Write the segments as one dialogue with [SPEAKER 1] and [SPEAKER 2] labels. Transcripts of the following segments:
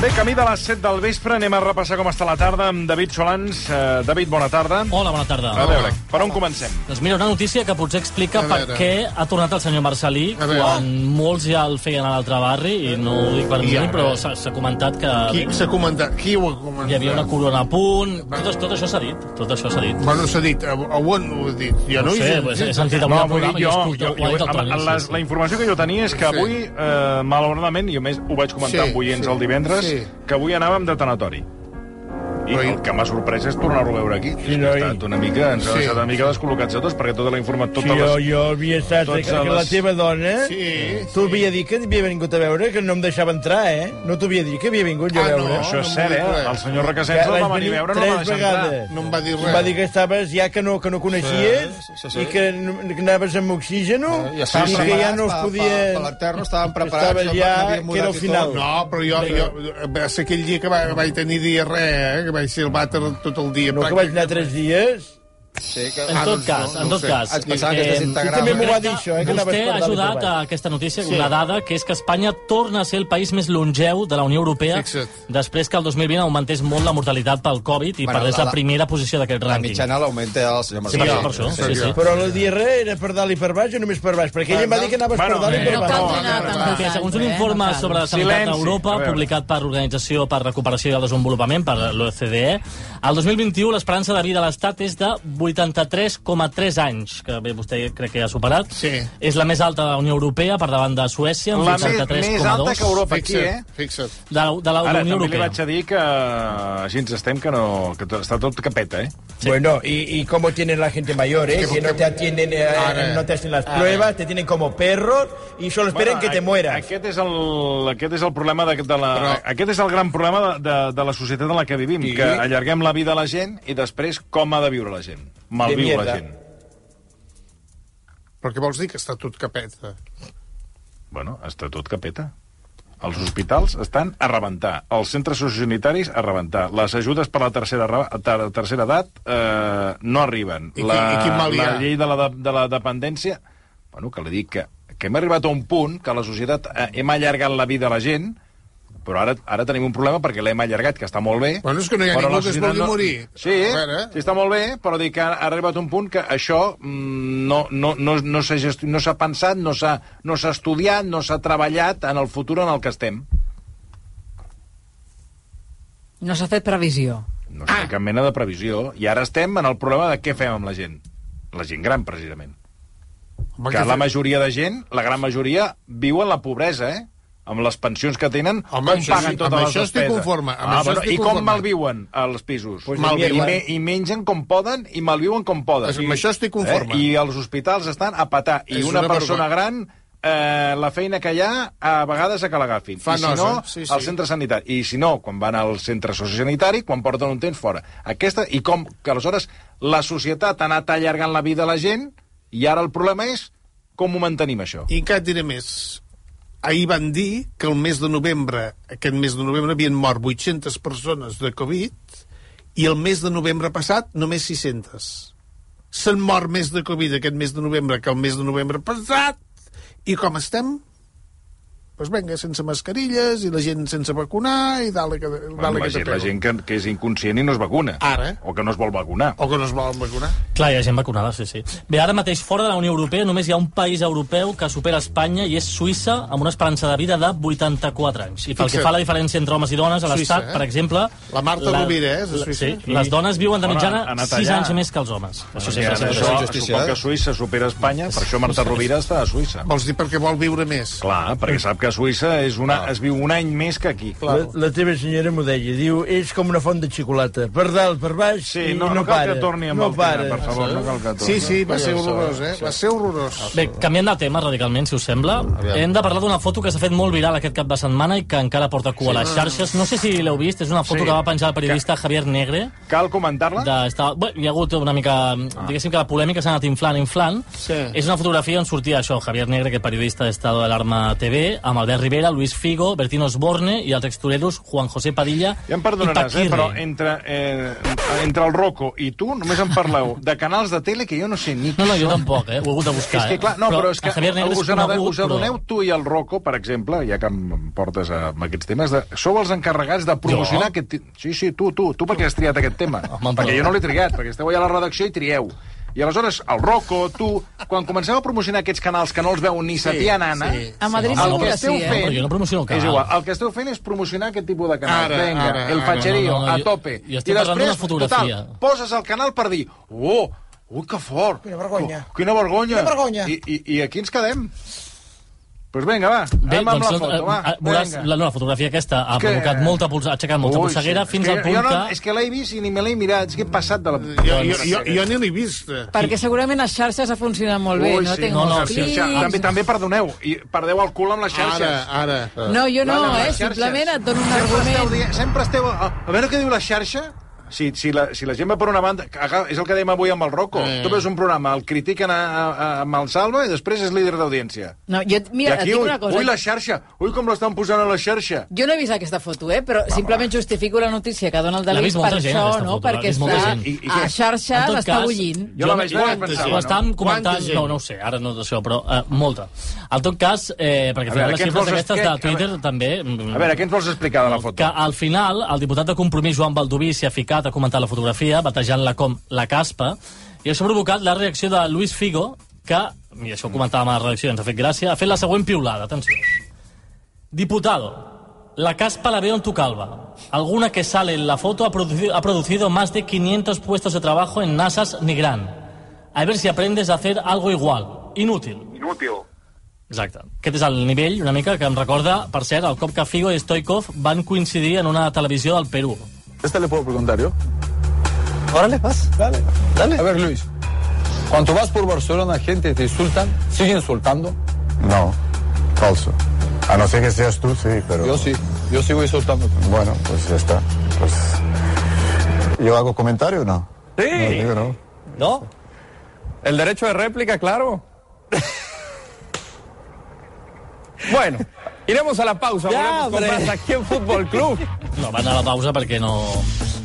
[SPEAKER 1] Bé, camí de les 7 del vespre, anem a repassar com està la tarda amb David Solans. Uh, David, bona tarda.
[SPEAKER 2] Hola, bona tarda.
[SPEAKER 1] A veure, per on comencem?
[SPEAKER 2] Doncs mira, una notícia que potser explica
[SPEAKER 3] A
[SPEAKER 2] per
[SPEAKER 3] veure.
[SPEAKER 2] què ha tornat el senyor Marcelí
[SPEAKER 3] A veure.
[SPEAKER 2] quan molts ja el feien a l'altre barri, i no ho dic per
[SPEAKER 3] I
[SPEAKER 2] mi,
[SPEAKER 3] ara?
[SPEAKER 2] però s'ha s'ha comentat que
[SPEAKER 3] Qui s'ha comentat? Qui ho ha comentat?
[SPEAKER 2] hi havia una corona a punt... Tot, tot això s'ha dit, tot això s'ha dit.
[SPEAKER 3] Bueno, s'ha dit, a, a on ho he dit? Jo
[SPEAKER 2] No ho
[SPEAKER 3] no, hi
[SPEAKER 2] sé,
[SPEAKER 3] he-
[SPEAKER 2] pues, he sentit avui
[SPEAKER 1] No,
[SPEAKER 2] el
[SPEAKER 1] vull dir,
[SPEAKER 2] programa i
[SPEAKER 1] jo,
[SPEAKER 2] he
[SPEAKER 1] jo,
[SPEAKER 2] escoltat-
[SPEAKER 1] jo
[SPEAKER 2] ho ha dit el Toni,
[SPEAKER 1] amb- les,
[SPEAKER 2] sí,
[SPEAKER 1] la
[SPEAKER 2] sí.
[SPEAKER 1] informació que jo tenia és que
[SPEAKER 3] Sí.
[SPEAKER 1] avui, eh, malauradament, i a més ho vaig comentar
[SPEAKER 3] Sí,
[SPEAKER 1] amb oients
[SPEAKER 3] sí,
[SPEAKER 1] el divendres,
[SPEAKER 3] sí.
[SPEAKER 1] que avui anàvem de tanatori. I
[SPEAKER 3] Però i-
[SPEAKER 1] el que m'ha sorprès és tornar-ho a veure aquí.
[SPEAKER 4] Sí,
[SPEAKER 1] ha
[SPEAKER 4] noi.
[SPEAKER 1] estat una mica, ens ha
[SPEAKER 3] Sí.
[SPEAKER 1] deixat una mica descol·locats a tots, perquè tota la informació...
[SPEAKER 4] Sí,
[SPEAKER 1] Totes
[SPEAKER 4] jo,
[SPEAKER 1] les...
[SPEAKER 4] jo havia estat...
[SPEAKER 1] Tots
[SPEAKER 4] Que, que la
[SPEAKER 1] els-
[SPEAKER 4] teva dona...
[SPEAKER 3] Sí,
[SPEAKER 4] T'ho havia dit que havia vingut a veure, que no em deixava entrar, eh? No t'ho havia dit que havia vingut jo
[SPEAKER 3] Ah,
[SPEAKER 4] a veure.
[SPEAKER 3] no,
[SPEAKER 1] Això és
[SPEAKER 3] m'ho
[SPEAKER 1] cert, eh?
[SPEAKER 3] dic res.
[SPEAKER 1] El senyor
[SPEAKER 4] Que
[SPEAKER 1] Requesens el
[SPEAKER 4] l'has
[SPEAKER 1] vam venir
[SPEAKER 4] venir
[SPEAKER 1] a veure, no
[SPEAKER 4] tres
[SPEAKER 1] va deixar entrar.
[SPEAKER 4] vegades.
[SPEAKER 3] No em va dir
[SPEAKER 4] Em
[SPEAKER 3] res.
[SPEAKER 4] va dir que estaves ja que no, que no coneixies
[SPEAKER 5] Sí, sí, sí.
[SPEAKER 4] i que, n- que anaves amb oxígeno
[SPEAKER 5] I estaven
[SPEAKER 4] i que ja no es
[SPEAKER 5] preparats
[SPEAKER 4] podia...
[SPEAKER 5] per- per l'Eterno, estaven preparats,
[SPEAKER 4] Estaven
[SPEAKER 5] jo
[SPEAKER 4] ja,
[SPEAKER 5] m'havia
[SPEAKER 4] que era
[SPEAKER 5] mudat
[SPEAKER 4] el
[SPEAKER 5] i
[SPEAKER 4] final.
[SPEAKER 5] tot.
[SPEAKER 3] No, però jo, jo va ser aquell dia que va, vaig tenir diarrea, eh? que vaig ser al vàter tot el dia.
[SPEAKER 4] No, que vaig anar tres dies.
[SPEAKER 5] Sí, que...
[SPEAKER 2] En
[SPEAKER 3] Ah,
[SPEAKER 2] tot
[SPEAKER 3] doncs
[SPEAKER 2] cas,
[SPEAKER 3] no,
[SPEAKER 2] en
[SPEAKER 3] no
[SPEAKER 2] tot
[SPEAKER 3] sé.
[SPEAKER 2] cas...
[SPEAKER 5] Ens pensava que es
[SPEAKER 2] eh,
[SPEAKER 5] desintegrava.
[SPEAKER 4] tu també m'ho va
[SPEAKER 2] crec
[SPEAKER 4] dir, això, eh,
[SPEAKER 2] que
[SPEAKER 4] que anaves
[SPEAKER 2] Vostè
[SPEAKER 4] per
[SPEAKER 2] ha
[SPEAKER 4] dalt i per
[SPEAKER 2] ajudat a
[SPEAKER 4] baix.
[SPEAKER 2] aquesta notícia sí. una dada, que és que Espanya torna a ser el país més longeu de la Unió Europea
[SPEAKER 3] Fixa't.
[SPEAKER 2] després que el 2020 augmentés molt la mortalitat pel Covid i
[SPEAKER 5] Bueno,
[SPEAKER 2] perdés
[SPEAKER 5] la-
[SPEAKER 2] la, primera posició d'aquest
[SPEAKER 5] La
[SPEAKER 2] rànquing.
[SPEAKER 5] mitjana l'augmenta el senyor
[SPEAKER 2] Sí,
[SPEAKER 5] Marcelí.
[SPEAKER 2] per això, per això. Sí, sí.
[SPEAKER 4] Però la diarrea era per dalt i per baix o només per baix? Perquè ell em va dir que anaves
[SPEAKER 1] Bueno,
[SPEAKER 4] per dalt i per
[SPEAKER 1] no
[SPEAKER 4] baix.
[SPEAKER 1] cal
[SPEAKER 6] Ah,
[SPEAKER 2] Perquè, segons
[SPEAKER 7] eh,
[SPEAKER 2] un informe
[SPEAKER 6] eh?
[SPEAKER 2] sobre la sanitat
[SPEAKER 1] Silenci. A
[SPEAKER 2] d'Europa,
[SPEAKER 1] veure.
[SPEAKER 2] publicat per l'Organització per Recuperació i el Desenvolupament, per l'OCDE, el 2021 l'esperança de vida a l'Estat és de 83,3 anys, que bé, vostè crec que ja ha superat.
[SPEAKER 3] Sí.
[SPEAKER 2] És la més alta de la Unió Europea, per davant de Suècia, amb
[SPEAKER 1] La més, més alta que
[SPEAKER 2] 83,2.
[SPEAKER 1] Europa, aquí, eh?
[SPEAKER 3] Fixa't.
[SPEAKER 2] De, la- de la
[SPEAKER 1] Ara,
[SPEAKER 2] Unió
[SPEAKER 1] també li
[SPEAKER 2] Europea.
[SPEAKER 1] vaig a dir que eh, així ens estem, que, no, que tot- està tot que peta, eh?
[SPEAKER 4] Bueno, y, y cómo tienen la gente mayor, ¿eh?
[SPEAKER 3] Es que
[SPEAKER 4] Que no te atienden, eh,
[SPEAKER 3] Ahora.
[SPEAKER 4] no te hacen las pruebas, te tienen como perros y solo esperan que te
[SPEAKER 1] aqu-
[SPEAKER 4] mueras.
[SPEAKER 1] eh, Aquest és el, aquest és el problema de, de la,
[SPEAKER 3] Però-
[SPEAKER 1] aquest és el gran problema de, de, de la societat en la que vivim,
[SPEAKER 3] I-
[SPEAKER 1] que allarguem la vida a la gent i després com ha de viure la gent. Malviu
[SPEAKER 4] mierda.
[SPEAKER 1] la gent.
[SPEAKER 3] Però què vols dir que està tot capeta?
[SPEAKER 1] Bueno, està tot que peta. Els hospitals estan a rebentar, els centres sociosanitaris a rebentar, les ajudes per la tercera, ra- ter, tercera edat eh, no arriben.
[SPEAKER 3] I qui-
[SPEAKER 1] la,
[SPEAKER 3] i quin mal hi
[SPEAKER 1] la
[SPEAKER 3] ha?
[SPEAKER 1] llei de la, de, de la dependència... Bueno, que li dic que, que hem arribat a un punt que la societat eh, hem allargat la vida a la gent, però ara, ara tenim un problema perquè l'hem allargat, que està molt bé.
[SPEAKER 3] Bueno, és que no hi ha
[SPEAKER 1] però
[SPEAKER 3] ningú
[SPEAKER 1] la
[SPEAKER 3] que es
[SPEAKER 1] societat
[SPEAKER 3] vulgui morir.
[SPEAKER 1] Sí,
[SPEAKER 3] A veure. eh?
[SPEAKER 1] sí, està molt bé, però dic que ha ha arribat un punt que això mm, no, no, no, no s'ha gest... no s'ha pensat, no s'ha no s'ha estudiat, no s'ha treballat en el futur en el que estem.
[SPEAKER 7] No s'ha fet previsió.
[SPEAKER 1] No s'ha ah. cap mena de previsió. I ara estem en el problema de què fem amb la gent. La gent gran, precisament.
[SPEAKER 3] Home,
[SPEAKER 1] que
[SPEAKER 3] què
[SPEAKER 1] la
[SPEAKER 3] fem?
[SPEAKER 1] majoria de gent, la gran majoria, viu en la pobresa, eh? amb les pensions que tenen,
[SPEAKER 3] Home,
[SPEAKER 1] com
[SPEAKER 3] això
[SPEAKER 1] paguen
[SPEAKER 3] sí,
[SPEAKER 1] totes
[SPEAKER 3] amb
[SPEAKER 1] les
[SPEAKER 3] això estic
[SPEAKER 1] despeses.
[SPEAKER 3] conforme, amb
[SPEAKER 1] ah,
[SPEAKER 3] això
[SPEAKER 1] bueno,
[SPEAKER 3] estic
[SPEAKER 1] I com
[SPEAKER 3] conforme.
[SPEAKER 1] malviuen als pisos?
[SPEAKER 4] Pues
[SPEAKER 1] I,
[SPEAKER 4] mierda.
[SPEAKER 1] me, I mengen com poden i malviuen com poden.
[SPEAKER 3] Amb
[SPEAKER 1] I-
[SPEAKER 3] això estic conforme.
[SPEAKER 1] Eh? I els hospitals estan a patar. I
[SPEAKER 3] És
[SPEAKER 1] una,
[SPEAKER 3] una
[SPEAKER 1] persona
[SPEAKER 3] vergonya.
[SPEAKER 1] gran, eh, la feina que hi ha, a vegades a que l'agafin.
[SPEAKER 3] Fa
[SPEAKER 1] I si
[SPEAKER 3] nosa,
[SPEAKER 1] no,
[SPEAKER 3] sí, sí.
[SPEAKER 1] al centre sanitar. I si no, quan van al centre sociosanitari, quan porten un temps fora. Aquesta, i com que aleshores la societat ha anat allargant la vida a la gent, i ara el problema és com ho mantenim, això.
[SPEAKER 3] I encara et diré més. Ahir van dir que el mes de novembre, aquest mes de novembre, havien mort 800 persones de Covid i el mes de novembre passat només 600. S'han mort més de Covid aquest mes de novembre que el mes de novembre passat. I com estem? Doncs pues vinga, sense mascarilles i la gent sense vacunar i dale que, dale
[SPEAKER 1] Bueno, la,
[SPEAKER 3] que te
[SPEAKER 1] gent,
[SPEAKER 3] pego.
[SPEAKER 1] la gent que, que és inconscient i no es vacuna.
[SPEAKER 3] Ara.
[SPEAKER 1] O que no es vol vacunar.
[SPEAKER 3] O que no es volen vacunar.
[SPEAKER 2] Clar, hi ha gent vacunada, sí, sí. Bé, ara mateix fora de la Unió Europea només hi ha un país europeu que supera Espanya i és Suïssa amb una esperança de vida de 84 anys. I pel que
[SPEAKER 3] Fixa't.
[SPEAKER 2] fa a la diferència entre homes i dones, a
[SPEAKER 3] Suïssa,
[SPEAKER 2] l'estat,
[SPEAKER 3] eh?
[SPEAKER 2] per exemple...
[SPEAKER 3] La Marta Rovira, eh, és de
[SPEAKER 2] la-
[SPEAKER 3] Suïssa.
[SPEAKER 2] Sí, les dones viuen de
[SPEAKER 1] Bueno,
[SPEAKER 2] mitjana
[SPEAKER 1] ha anat
[SPEAKER 2] 6
[SPEAKER 1] allà.
[SPEAKER 2] anys més que els homes. Això sí,
[SPEAKER 1] I
[SPEAKER 2] és la
[SPEAKER 1] ara
[SPEAKER 2] seva
[SPEAKER 1] això,
[SPEAKER 2] situació.
[SPEAKER 5] injustícia,
[SPEAKER 1] suposo
[SPEAKER 5] eh?
[SPEAKER 1] que Suïssa supera Espanya, per això Marta Rovira està a Suïssa.
[SPEAKER 3] Vols dir perquè vol viure més?
[SPEAKER 1] Clar, perquè sap que a Suïssa és una,
[SPEAKER 5] Ah.
[SPEAKER 1] es viu un any més que aquí.
[SPEAKER 4] La, la teva senyora m'ho deia, diu, és com una font de xocolata, per dalt, per baix,
[SPEAKER 1] Sí,
[SPEAKER 4] i
[SPEAKER 1] no, no, cal
[SPEAKER 4] para.
[SPEAKER 1] que torni amb
[SPEAKER 4] no
[SPEAKER 1] el
[SPEAKER 4] para.
[SPEAKER 1] tema, per favor, no cal que torni.
[SPEAKER 3] Sí, sí, va ser horrorós, eh? Va ser horrorós.
[SPEAKER 2] Bé, canviant de tema radicalment, si us sembla, hem de parlar d'una foto que s'ha fet molt viral aquest cap de setmana i que encara porta cua a les xarxes. No sé si l'heu vist, és una foto
[SPEAKER 3] Sí.
[SPEAKER 2] que va penjar el periodista Javier Negre.
[SPEAKER 1] Cal comentar-la?
[SPEAKER 2] De, estava, bé, hi ha hagut una mica...
[SPEAKER 1] Ah.
[SPEAKER 2] Diguéssim que la polèmica s'ha anat inflant, inflant.
[SPEAKER 3] Sí.
[SPEAKER 2] És una fotografia on sortia això, Javier Negre, que periodista d'Estado de l'Arma TV, amb Albert Rivera, Luis Figo, Bertino Osborne i els extoreros Juan José Padilla
[SPEAKER 1] Ja em perdonaràs,
[SPEAKER 2] i
[SPEAKER 1] eh,
[SPEAKER 2] Paquirri.
[SPEAKER 1] però entre, eh, entre el Rocco i tu només em parleu de canals de tele que jo no sé ni
[SPEAKER 2] No, no, jo tampoc, eh? Ho he hagut de buscar,
[SPEAKER 1] És que, clar, no,
[SPEAKER 2] eh?
[SPEAKER 1] però, és que
[SPEAKER 2] el Javier Negre és
[SPEAKER 1] us, adoneu,
[SPEAKER 2] conegut,
[SPEAKER 1] us adoneu tu i el Rocco, per exemple, ja que em em portes a, amb aquests temes, de, sou els encarregats de promocionar
[SPEAKER 2] Jo?
[SPEAKER 1] aquest... ti- Sí, sí, tu, tu, tu perquè has triat aquest tema.
[SPEAKER 2] Home,
[SPEAKER 1] perquè
[SPEAKER 2] però-
[SPEAKER 1] jo no l'he triat, perquè esteu allà a la redacció i trieu. I aleshores, el Rocco, tu, quan comenceu a promocionar aquests canals que no els veu ni Satia Nana, sí,
[SPEAKER 7] A Madrid
[SPEAKER 2] no,
[SPEAKER 7] segur
[SPEAKER 1] el que
[SPEAKER 7] que sí,
[SPEAKER 1] esteu
[SPEAKER 7] eh?
[SPEAKER 1] fent...
[SPEAKER 2] No, però jo no promociono el
[SPEAKER 1] És
[SPEAKER 2] canal.
[SPEAKER 1] igual, el que esteu fent és promocionar aquest tipus de canal.
[SPEAKER 3] Ara,
[SPEAKER 1] Vinga,
[SPEAKER 3] ara,
[SPEAKER 1] el
[SPEAKER 3] ara.
[SPEAKER 1] fatxerío,
[SPEAKER 2] No, no, no,
[SPEAKER 1] a
[SPEAKER 2] jo-
[SPEAKER 1] tope.
[SPEAKER 2] jo estic parlant d'una fotografia.
[SPEAKER 1] Total, poses el canal per dir... Oh, ui, que fort!
[SPEAKER 4] Quina vergonya.
[SPEAKER 1] Oh, Quina vergonya!
[SPEAKER 4] Quina vergonya.
[SPEAKER 1] I, i, I aquí ens quedem. Doncs pues vinga, va,
[SPEAKER 2] Bé,
[SPEAKER 1] anem amb
[SPEAKER 2] doncs,
[SPEAKER 1] la foto, va.
[SPEAKER 2] eh, veuràs,
[SPEAKER 1] vinga.
[SPEAKER 2] la, no, la fotografia aquesta ha
[SPEAKER 1] És que-
[SPEAKER 2] provocat molta polsa, ha aixecat molta polseguera
[SPEAKER 1] sí.
[SPEAKER 2] fins
[SPEAKER 1] És
[SPEAKER 2] al
[SPEAKER 1] que
[SPEAKER 2] punt
[SPEAKER 1] jo no,
[SPEAKER 2] que... Doncs-
[SPEAKER 1] És que l'he vist i ni me l'he mirat, és que he passat de la...
[SPEAKER 3] Jo, jo, jo, jo ni l'he vist.
[SPEAKER 7] Perquè segurament les xarxes ha funcionat molt bé,
[SPEAKER 1] Ui,
[SPEAKER 7] no?
[SPEAKER 1] sí,
[SPEAKER 7] Tinc
[SPEAKER 2] no, no,
[SPEAKER 7] molts
[SPEAKER 2] sí,
[SPEAKER 7] clics...
[SPEAKER 1] També, també perdoneu, i perdeu el cul amb les xarxes.
[SPEAKER 3] Ara, ara.
[SPEAKER 7] No, jo no,
[SPEAKER 1] Clar, les
[SPEAKER 7] eh?
[SPEAKER 1] xarxes.
[SPEAKER 7] Simplement et dono un
[SPEAKER 1] Sempre esteu,
[SPEAKER 7] argument.
[SPEAKER 1] dient- sempre esteu a, a veure què diu la xarxa. Si, si, la, si la gent va per una banda... aga- És el que dèiem avui amb el Rocco.
[SPEAKER 3] Eh.
[SPEAKER 1] Tu veus un programa, el critiquen a, a, a, amb el Salva i després és líder d'audiència.
[SPEAKER 7] No, jo, mira,
[SPEAKER 1] I
[SPEAKER 7] et
[SPEAKER 1] aquí,
[SPEAKER 7] dic
[SPEAKER 1] ui,
[SPEAKER 7] una cosa.
[SPEAKER 1] ui, la xarxa! Ui, com l'estan posant a la xarxa!
[SPEAKER 7] Jo no he vist aquesta foto, eh? però simplement justifico la notícia que dona el David
[SPEAKER 2] vist
[SPEAKER 7] per
[SPEAKER 2] molta gent,
[SPEAKER 7] això,
[SPEAKER 2] aquesta
[SPEAKER 7] no?
[SPEAKER 2] foto, l'ha
[SPEAKER 7] perquè
[SPEAKER 2] vist molta
[SPEAKER 7] està
[SPEAKER 2] gent.
[SPEAKER 1] I- i
[SPEAKER 7] a
[SPEAKER 1] què?
[SPEAKER 7] xarxa,
[SPEAKER 2] En tot
[SPEAKER 7] l'està
[SPEAKER 2] cas,
[SPEAKER 7] bullint.
[SPEAKER 1] Jo la vaig veure i
[SPEAKER 2] Quanta
[SPEAKER 1] pensava,
[SPEAKER 2] gent?
[SPEAKER 1] no?
[SPEAKER 2] Ho estàvem
[SPEAKER 3] Quanta
[SPEAKER 2] comentant...
[SPEAKER 3] gent?
[SPEAKER 2] No, no ho sé, ara no d'això, però eh, molta. En tot cas, eh, perquè
[SPEAKER 1] A veure,
[SPEAKER 2] al final les
[SPEAKER 1] què ens
[SPEAKER 2] xifres
[SPEAKER 1] vols
[SPEAKER 2] aquestes de
[SPEAKER 1] explicar?
[SPEAKER 2] Twitter
[SPEAKER 1] A veure-
[SPEAKER 2] també... mm,
[SPEAKER 1] A veure, què ens vols explicar de la
[SPEAKER 2] que
[SPEAKER 1] foto?
[SPEAKER 2] al final el diputat de Compromís, Joan Baldoví, s'hi ha ficat a comentar la fotografia, batejant-la com la caspa, i això ha provocat la reacció de Luis Figo, que, i això ho comentàvem a la redacció i ens ha fet gràcia, ha fet la següent piulada, atenció. Diputado, la caspa la veo en tu calva. Alguna que sale en la foto ha producido, ha producido más de 500 puestos de trabajo en NASA's Nigran. A ver si aprendes a hacer algo igual. Inútil.
[SPEAKER 8] Inútil.
[SPEAKER 2] Exacte. Aquest és el nivell, una mica, que em recorda, per cert, el cop que Figo i Stoikov van coincidir en una televisió del Perú.
[SPEAKER 9] Este le puedo preguntar yo. Órale, vas. Dale. Dale. A ver, Luis. Cuando vas por Barcelona, gente te insultan, sigue insultando.
[SPEAKER 10] No, falso. A no ser que seas tú, sí, pero...
[SPEAKER 9] Yo sí, yo sigo insultando.
[SPEAKER 10] Bueno, pues ya está. Pues... ¿Yo hago comentario o no?
[SPEAKER 9] Sí.
[SPEAKER 10] No, digo no.
[SPEAKER 9] ¿No? El derecho de réplica, claro. bueno, iremos a la pausa. Volvemos con más aquí en Fútbol Club.
[SPEAKER 2] No, van a la pausa perquè no...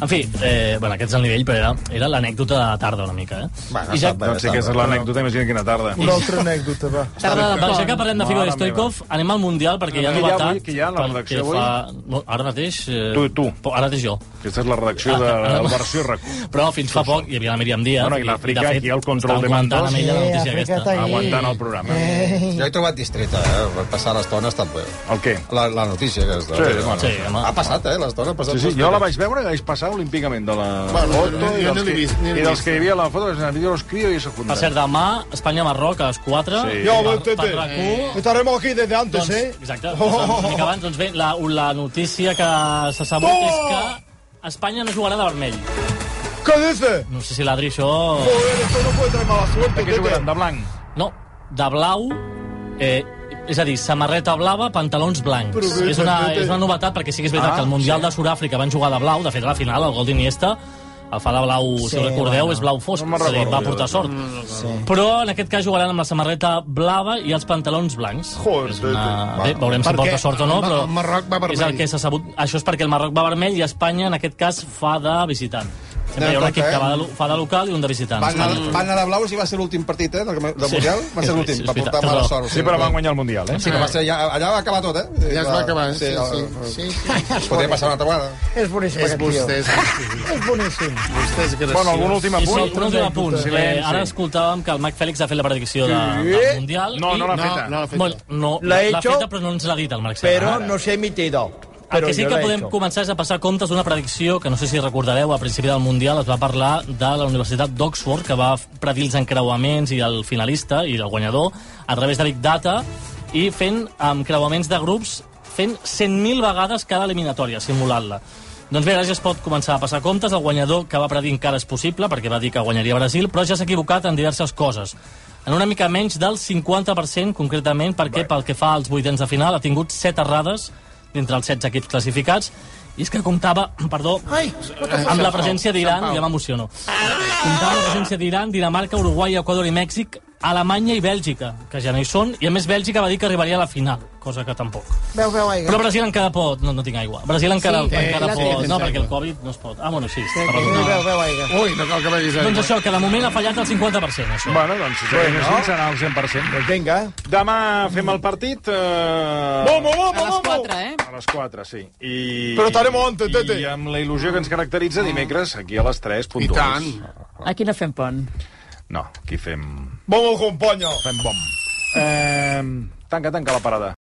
[SPEAKER 2] En fi, eh, bueno, aquest és el nivell, però era, era l'anècdota de tarda una mica, eh?
[SPEAKER 5] Bueno,
[SPEAKER 2] I ja,
[SPEAKER 5] està bé.
[SPEAKER 1] Doncs sí, aquesta és l'anècdota, imagina quina tarda.
[SPEAKER 4] Una altra anècdota, va.
[SPEAKER 7] Tarda de
[SPEAKER 2] doncs, ja que
[SPEAKER 7] pont.
[SPEAKER 2] parlem de Figo i
[SPEAKER 1] Mare
[SPEAKER 2] Stoikov, anem al Mundial perquè hi ha
[SPEAKER 1] Qui hi ha avui?
[SPEAKER 2] novetat.
[SPEAKER 1] Qui hi ha a la
[SPEAKER 2] perquè
[SPEAKER 1] redacció avui?
[SPEAKER 2] Fa... No, ara mateix... Eh,
[SPEAKER 1] Tu i tu.
[SPEAKER 2] po- Ara mateix jo.
[SPEAKER 1] Aquesta és la redacció de la versió rac
[SPEAKER 2] Però fins fa poc hi havia la Míriam Díaz.
[SPEAKER 1] Bueno, i
[SPEAKER 2] i,
[SPEAKER 1] l'Àfrica,
[SPEAKER 2] de fet,
[SPEAKER 1] aquí al control
[SPEAKER 2] estàvem
[SPEAKER 1] de mando.
[SPEAKER 2] comentant amb ella la
[SPEAKER 4] Sí,
[SPEAKER 2] notícia
[SPEAKER 4] Àfrica
[SPEAKER 2] aquesta.
[SPEAKER 4] està ahí.
[SPEAKER 1] aguantant el programa.
[SPEAKER 5] Jo he trobat distreta, eh? Per Passar l'estona ha estat bé.
[SPEAKER 1] El què?
[SPEAKER 5] La, la notícia aquesta.
[SPEAKER 1] Sí, bueno.
[SPEAKER 2] Sí, home.
[SPEAKER 5] Ha passat, eh? L'estona ha passat.
[SPEAKER 1] Sí, sí,
[SPEAKER 5] molt
[SPEAKER 1] jo la
[SPEAKER 5] bé.
[SPEAKER 1] vaig veure i vaig passar olímpicament de la
[SPEAKER 3] Bueno,
[SPEAKER 1] foto
[SPEAKER 3] jo-
[SPEAKER 1] i,
[SPEAKER 3] jo
[SPEAKER 1] dels
[SPEAKER 3] no l'he
[SPEAKER 1] que,
[SPEAKER 3] vist, ni l'he
[SPEAKER 1] i dels
[SPEAKER 3] vist.
[SPEAKER 1] que hi havia a la foto, els vídeos els crio i s'afunden.
[SPEAKER 2] Per cert, demà, Espanya-Marroc a les 4.
[SPEAKER 1] Sí.
[SPEAKER 4] Jo,
[SPEAKER 2] per,
[SPEAKER 4] tete.
[SPEAKER 2] per RAC1.
[SPEAKER 4] eh. Estaremos aquí desde antes,
[SPEAKER 2] Doncs,
[SPEAKER 4] eh?
[SPEAKER 2] exacte, doncs, una mica abans, doncs bé, la, la notícia que s'ha sabut
[SPEAKER 4] Oh!
[SPEAKER 2] és que Espanya no jugarà de vermell.
[SPEAKER 4] ¿Qué dices?
[SPEAKER 2] No sé si l'Adri això...
[SPEAKER 4] Joder, esto no puede traer mala suerte,
[SPEAKER 1] Per què jugaran?
[SPEAKER 4] Tete.
[SPEAKER 1] De blanc?
[SPEAKER 2] No, de blau, eh, és a dir, samarreta blava, pantalons blancs.
[SPEAKER 4] Però bé,
[SPEAKER 2] és, una,
[SPEAKER 4] també té-
[SPEAKER 2] és una novetat, perquè sí que és veritat
[SPEAKER 1] Ah,
[SPEAKER 2] que el Mundial de Sud-àfrica van jugar de blau, de fet, a la final, el gol d'Iniesta, el fa de blau, si ho recordeu, és blau fosc,
[SPEAKER 1] No me'n
[SPEAKER 2] és a dir,
[SPEAKER 1] recordo,
[SPEAKER 2] va
[SPEAKER 1] jo,
[SPEAKER 2] portar sort. Però en aquest cas jugaran amb la samarreta blava i els pantalons blancs.
[SPEAKER 3] Joder,
[SPEAKER 2] és una...
[SPEAKER 3] tete.
[SPEAKER 2] Bé, veurem si
[SPEAKER 3] Perquè
[SPEAKER 2] porta sort o no,
[SPEAKER 3] el-
[SPEAKER 2] però
[SPEAKER 3] el Marroc va
[SPEAKER 2] és el
[SPEAKER 3] vermell.
[SPEAKER 2] que s'ha sabut. Això és perquè el Marroc va vermell i Espanya, en aquest cas, fa de visitant. Sempre hi ha un
[SPEAKER 5] Anem
[SPEAKER 2] equip
[SPEAKER 5] compte,
[SPEAKER 2] que
[SPEAKER 5] eh?
[SPEAKER 2] va de, lo- fa de local i un de visitant.
[SPEAKER 5] Van
[SPEAKER 2] Espanya.
[SPEAKER 5] anar, van anar de blaus i va ser l'últim partit, eh? Del, del
[SPEAKER 2] Sí.
[SPEAKER 5] Mundial. Va
[SPEAKER 2] Sí,
[SPEAKER 5] ser
[SPEAKER 2] sí,
[SPEAKER 5] l'últim.
[SPEAKER 2] és
[SPEAKER 5] Va
[SPEAKER 2] veritat,
[SPEAKER 5] portar mala
[SPEAKER 2] però-
[SPEAKER 5] sort.
[SPEAKER 1] Sí, però van guanyar el Mundial, eh?
[SPEAKER 5] Sí, però va ser, ja, allà va acabar tot, eh?
[SPEAKER 3] Ja es va acabar, sí, sí.
[SPEAKER 5] sí, sí. Podria passar una altra vegada.
[SPEAKER 4] És boníssim,
[SPEAKER 3] És
[SPEAKER 4] aquest tio.
[SPEAKER 3] vostès.
[SPEAKER 4] És boníssim.
[SPEAKER 3] Vostès, gràcies.
[SPEAKER 1] Bueno, algun últim
[SPEAKER 2] I sí,
[SPEAKER 1] apunt?
[SPEAKER 2] un últim apunt.
[SPEAKER 1] Silenci.
[SPEAKER 2] Eh, ara escoltàvem que el Mac Fèlix ha fet la predicció de, del Mundial.
[SPEAKER 1] No,
[SPEAKER 2] i-
[SPEAKER 1] no l'ha
[SPEAKER 3] No,
[SPEAKER 1] feta.
[SPEAKER 3] no l'ha
[SPEAKER 2] Bueno,
[SPEAKER 3] fet.
[SPEAKER 2] no,
[SPEAKER 4] La he
[SPEAKER 2] l'ha
[SPEAKER 4] hecho,
[SPEAKER 2] feta, però no ens l'ha dit el Marc Serra.
[SPEAKER 4] Pero
[SPEAKER 2] Ara.
[SPEAKER 4] no se emitido.
[SPEAKER 2] El
[SPEAKER 4] Pero
[SPEAKER 2] que sí
[SPEAKER 4] yo
[SPEAKER 2] que
[SPEAKER 4] la he
[SPEAKER 2] podem
[SPEAKER 4] hecho.
[SPEAKER 2] començar és a passar comptes d'una predicció que no sé si recordareu, a principi del Mundial es va parlar de la Universitat d'Oxford, que va predir els encreuaments i el finalista i el guanyador a través de Big Data, i fent amb creuaments de grups fent 100.000 vegades cada eliminatòria, simulant-la. Doncs bé, ara ja es pot començar a passar comptes. El guanyador que va predir encara és possible, perquè va dir que guanyaria Brasil, però ja s'ha equivocat en diverses coses. En una mica menys del 50%, concretament, perquè pel que fa als vuitens de final ha tingut 7 errades dintre els 16 equips classificats, i és que comptava, perdó, Ai, amb la presència d'Iran, ja m'emociono, comptava amb la presència d'Iran, Dinamarca, Uruguai, Equador i Mèxic, Alemanya i Bèlgica, que ja no hi són, i a més Bèlgica va dir que arribaria a la final, cosa que tampoc.
[SPEAKER 8] Veu, veu, aigua.
[SPEAKER 2] Però Brasil encara pot... No, no tinc aigua. Brasil encara,
[SPEAKER 8] Sí, eh,
[SPEAKER 2] sí, encara
[SPEAKER 8] la
[SPEAKER 2] pot...
[SPEAKER 8] tens,
[SPEAKER 2] No,
[SPEAKER 8] aigua.
[SPEAKER 2] perquè el Covid no es pot. Ah, bueno, sí. està
[SPEAKER 8] Veu,
[SPEAKER 2] perdonat.
[SPEAKER 8] veu, veu, aigua.
[SPEAKER 3] Ui, no cal que vegis aigua.
[SPEAKER 2] Doncs això, que de moment ha fallat el 50%, això.
[SPEAKER 1] Bueno, doncs, si bueno. així serà el 100%.
[SPEAKER 4] Pues venga.
[SPEAKER 1] Demà fem el partit... Eh...
[SPEAKER 4] Vamos, vamos,
[SPEAKER 7] A les
[SPEAKER 4] vamos.
[SPEAKER 7] 4, eh?
[SPEAKER 1] A les 4, sí. I,
[SPEAKER 4] Però estaremos antes, tete.
[SPEAKER 1] I amb la il·lusió que ens caracteritza dimecres, aquí a les 3,
[SPEAKER 3] I
[SPEAKER 1] puntuals.
[SPEAKER 3] tant.
[SPEAKER 7] Aquí no fem pont.
[SPEAKER 1] No, aquí fem...
[SPEAKER 4] Vamos, compañero.
[SPEAKER 1] Fem bom. Eh, tanca, tanca la parada.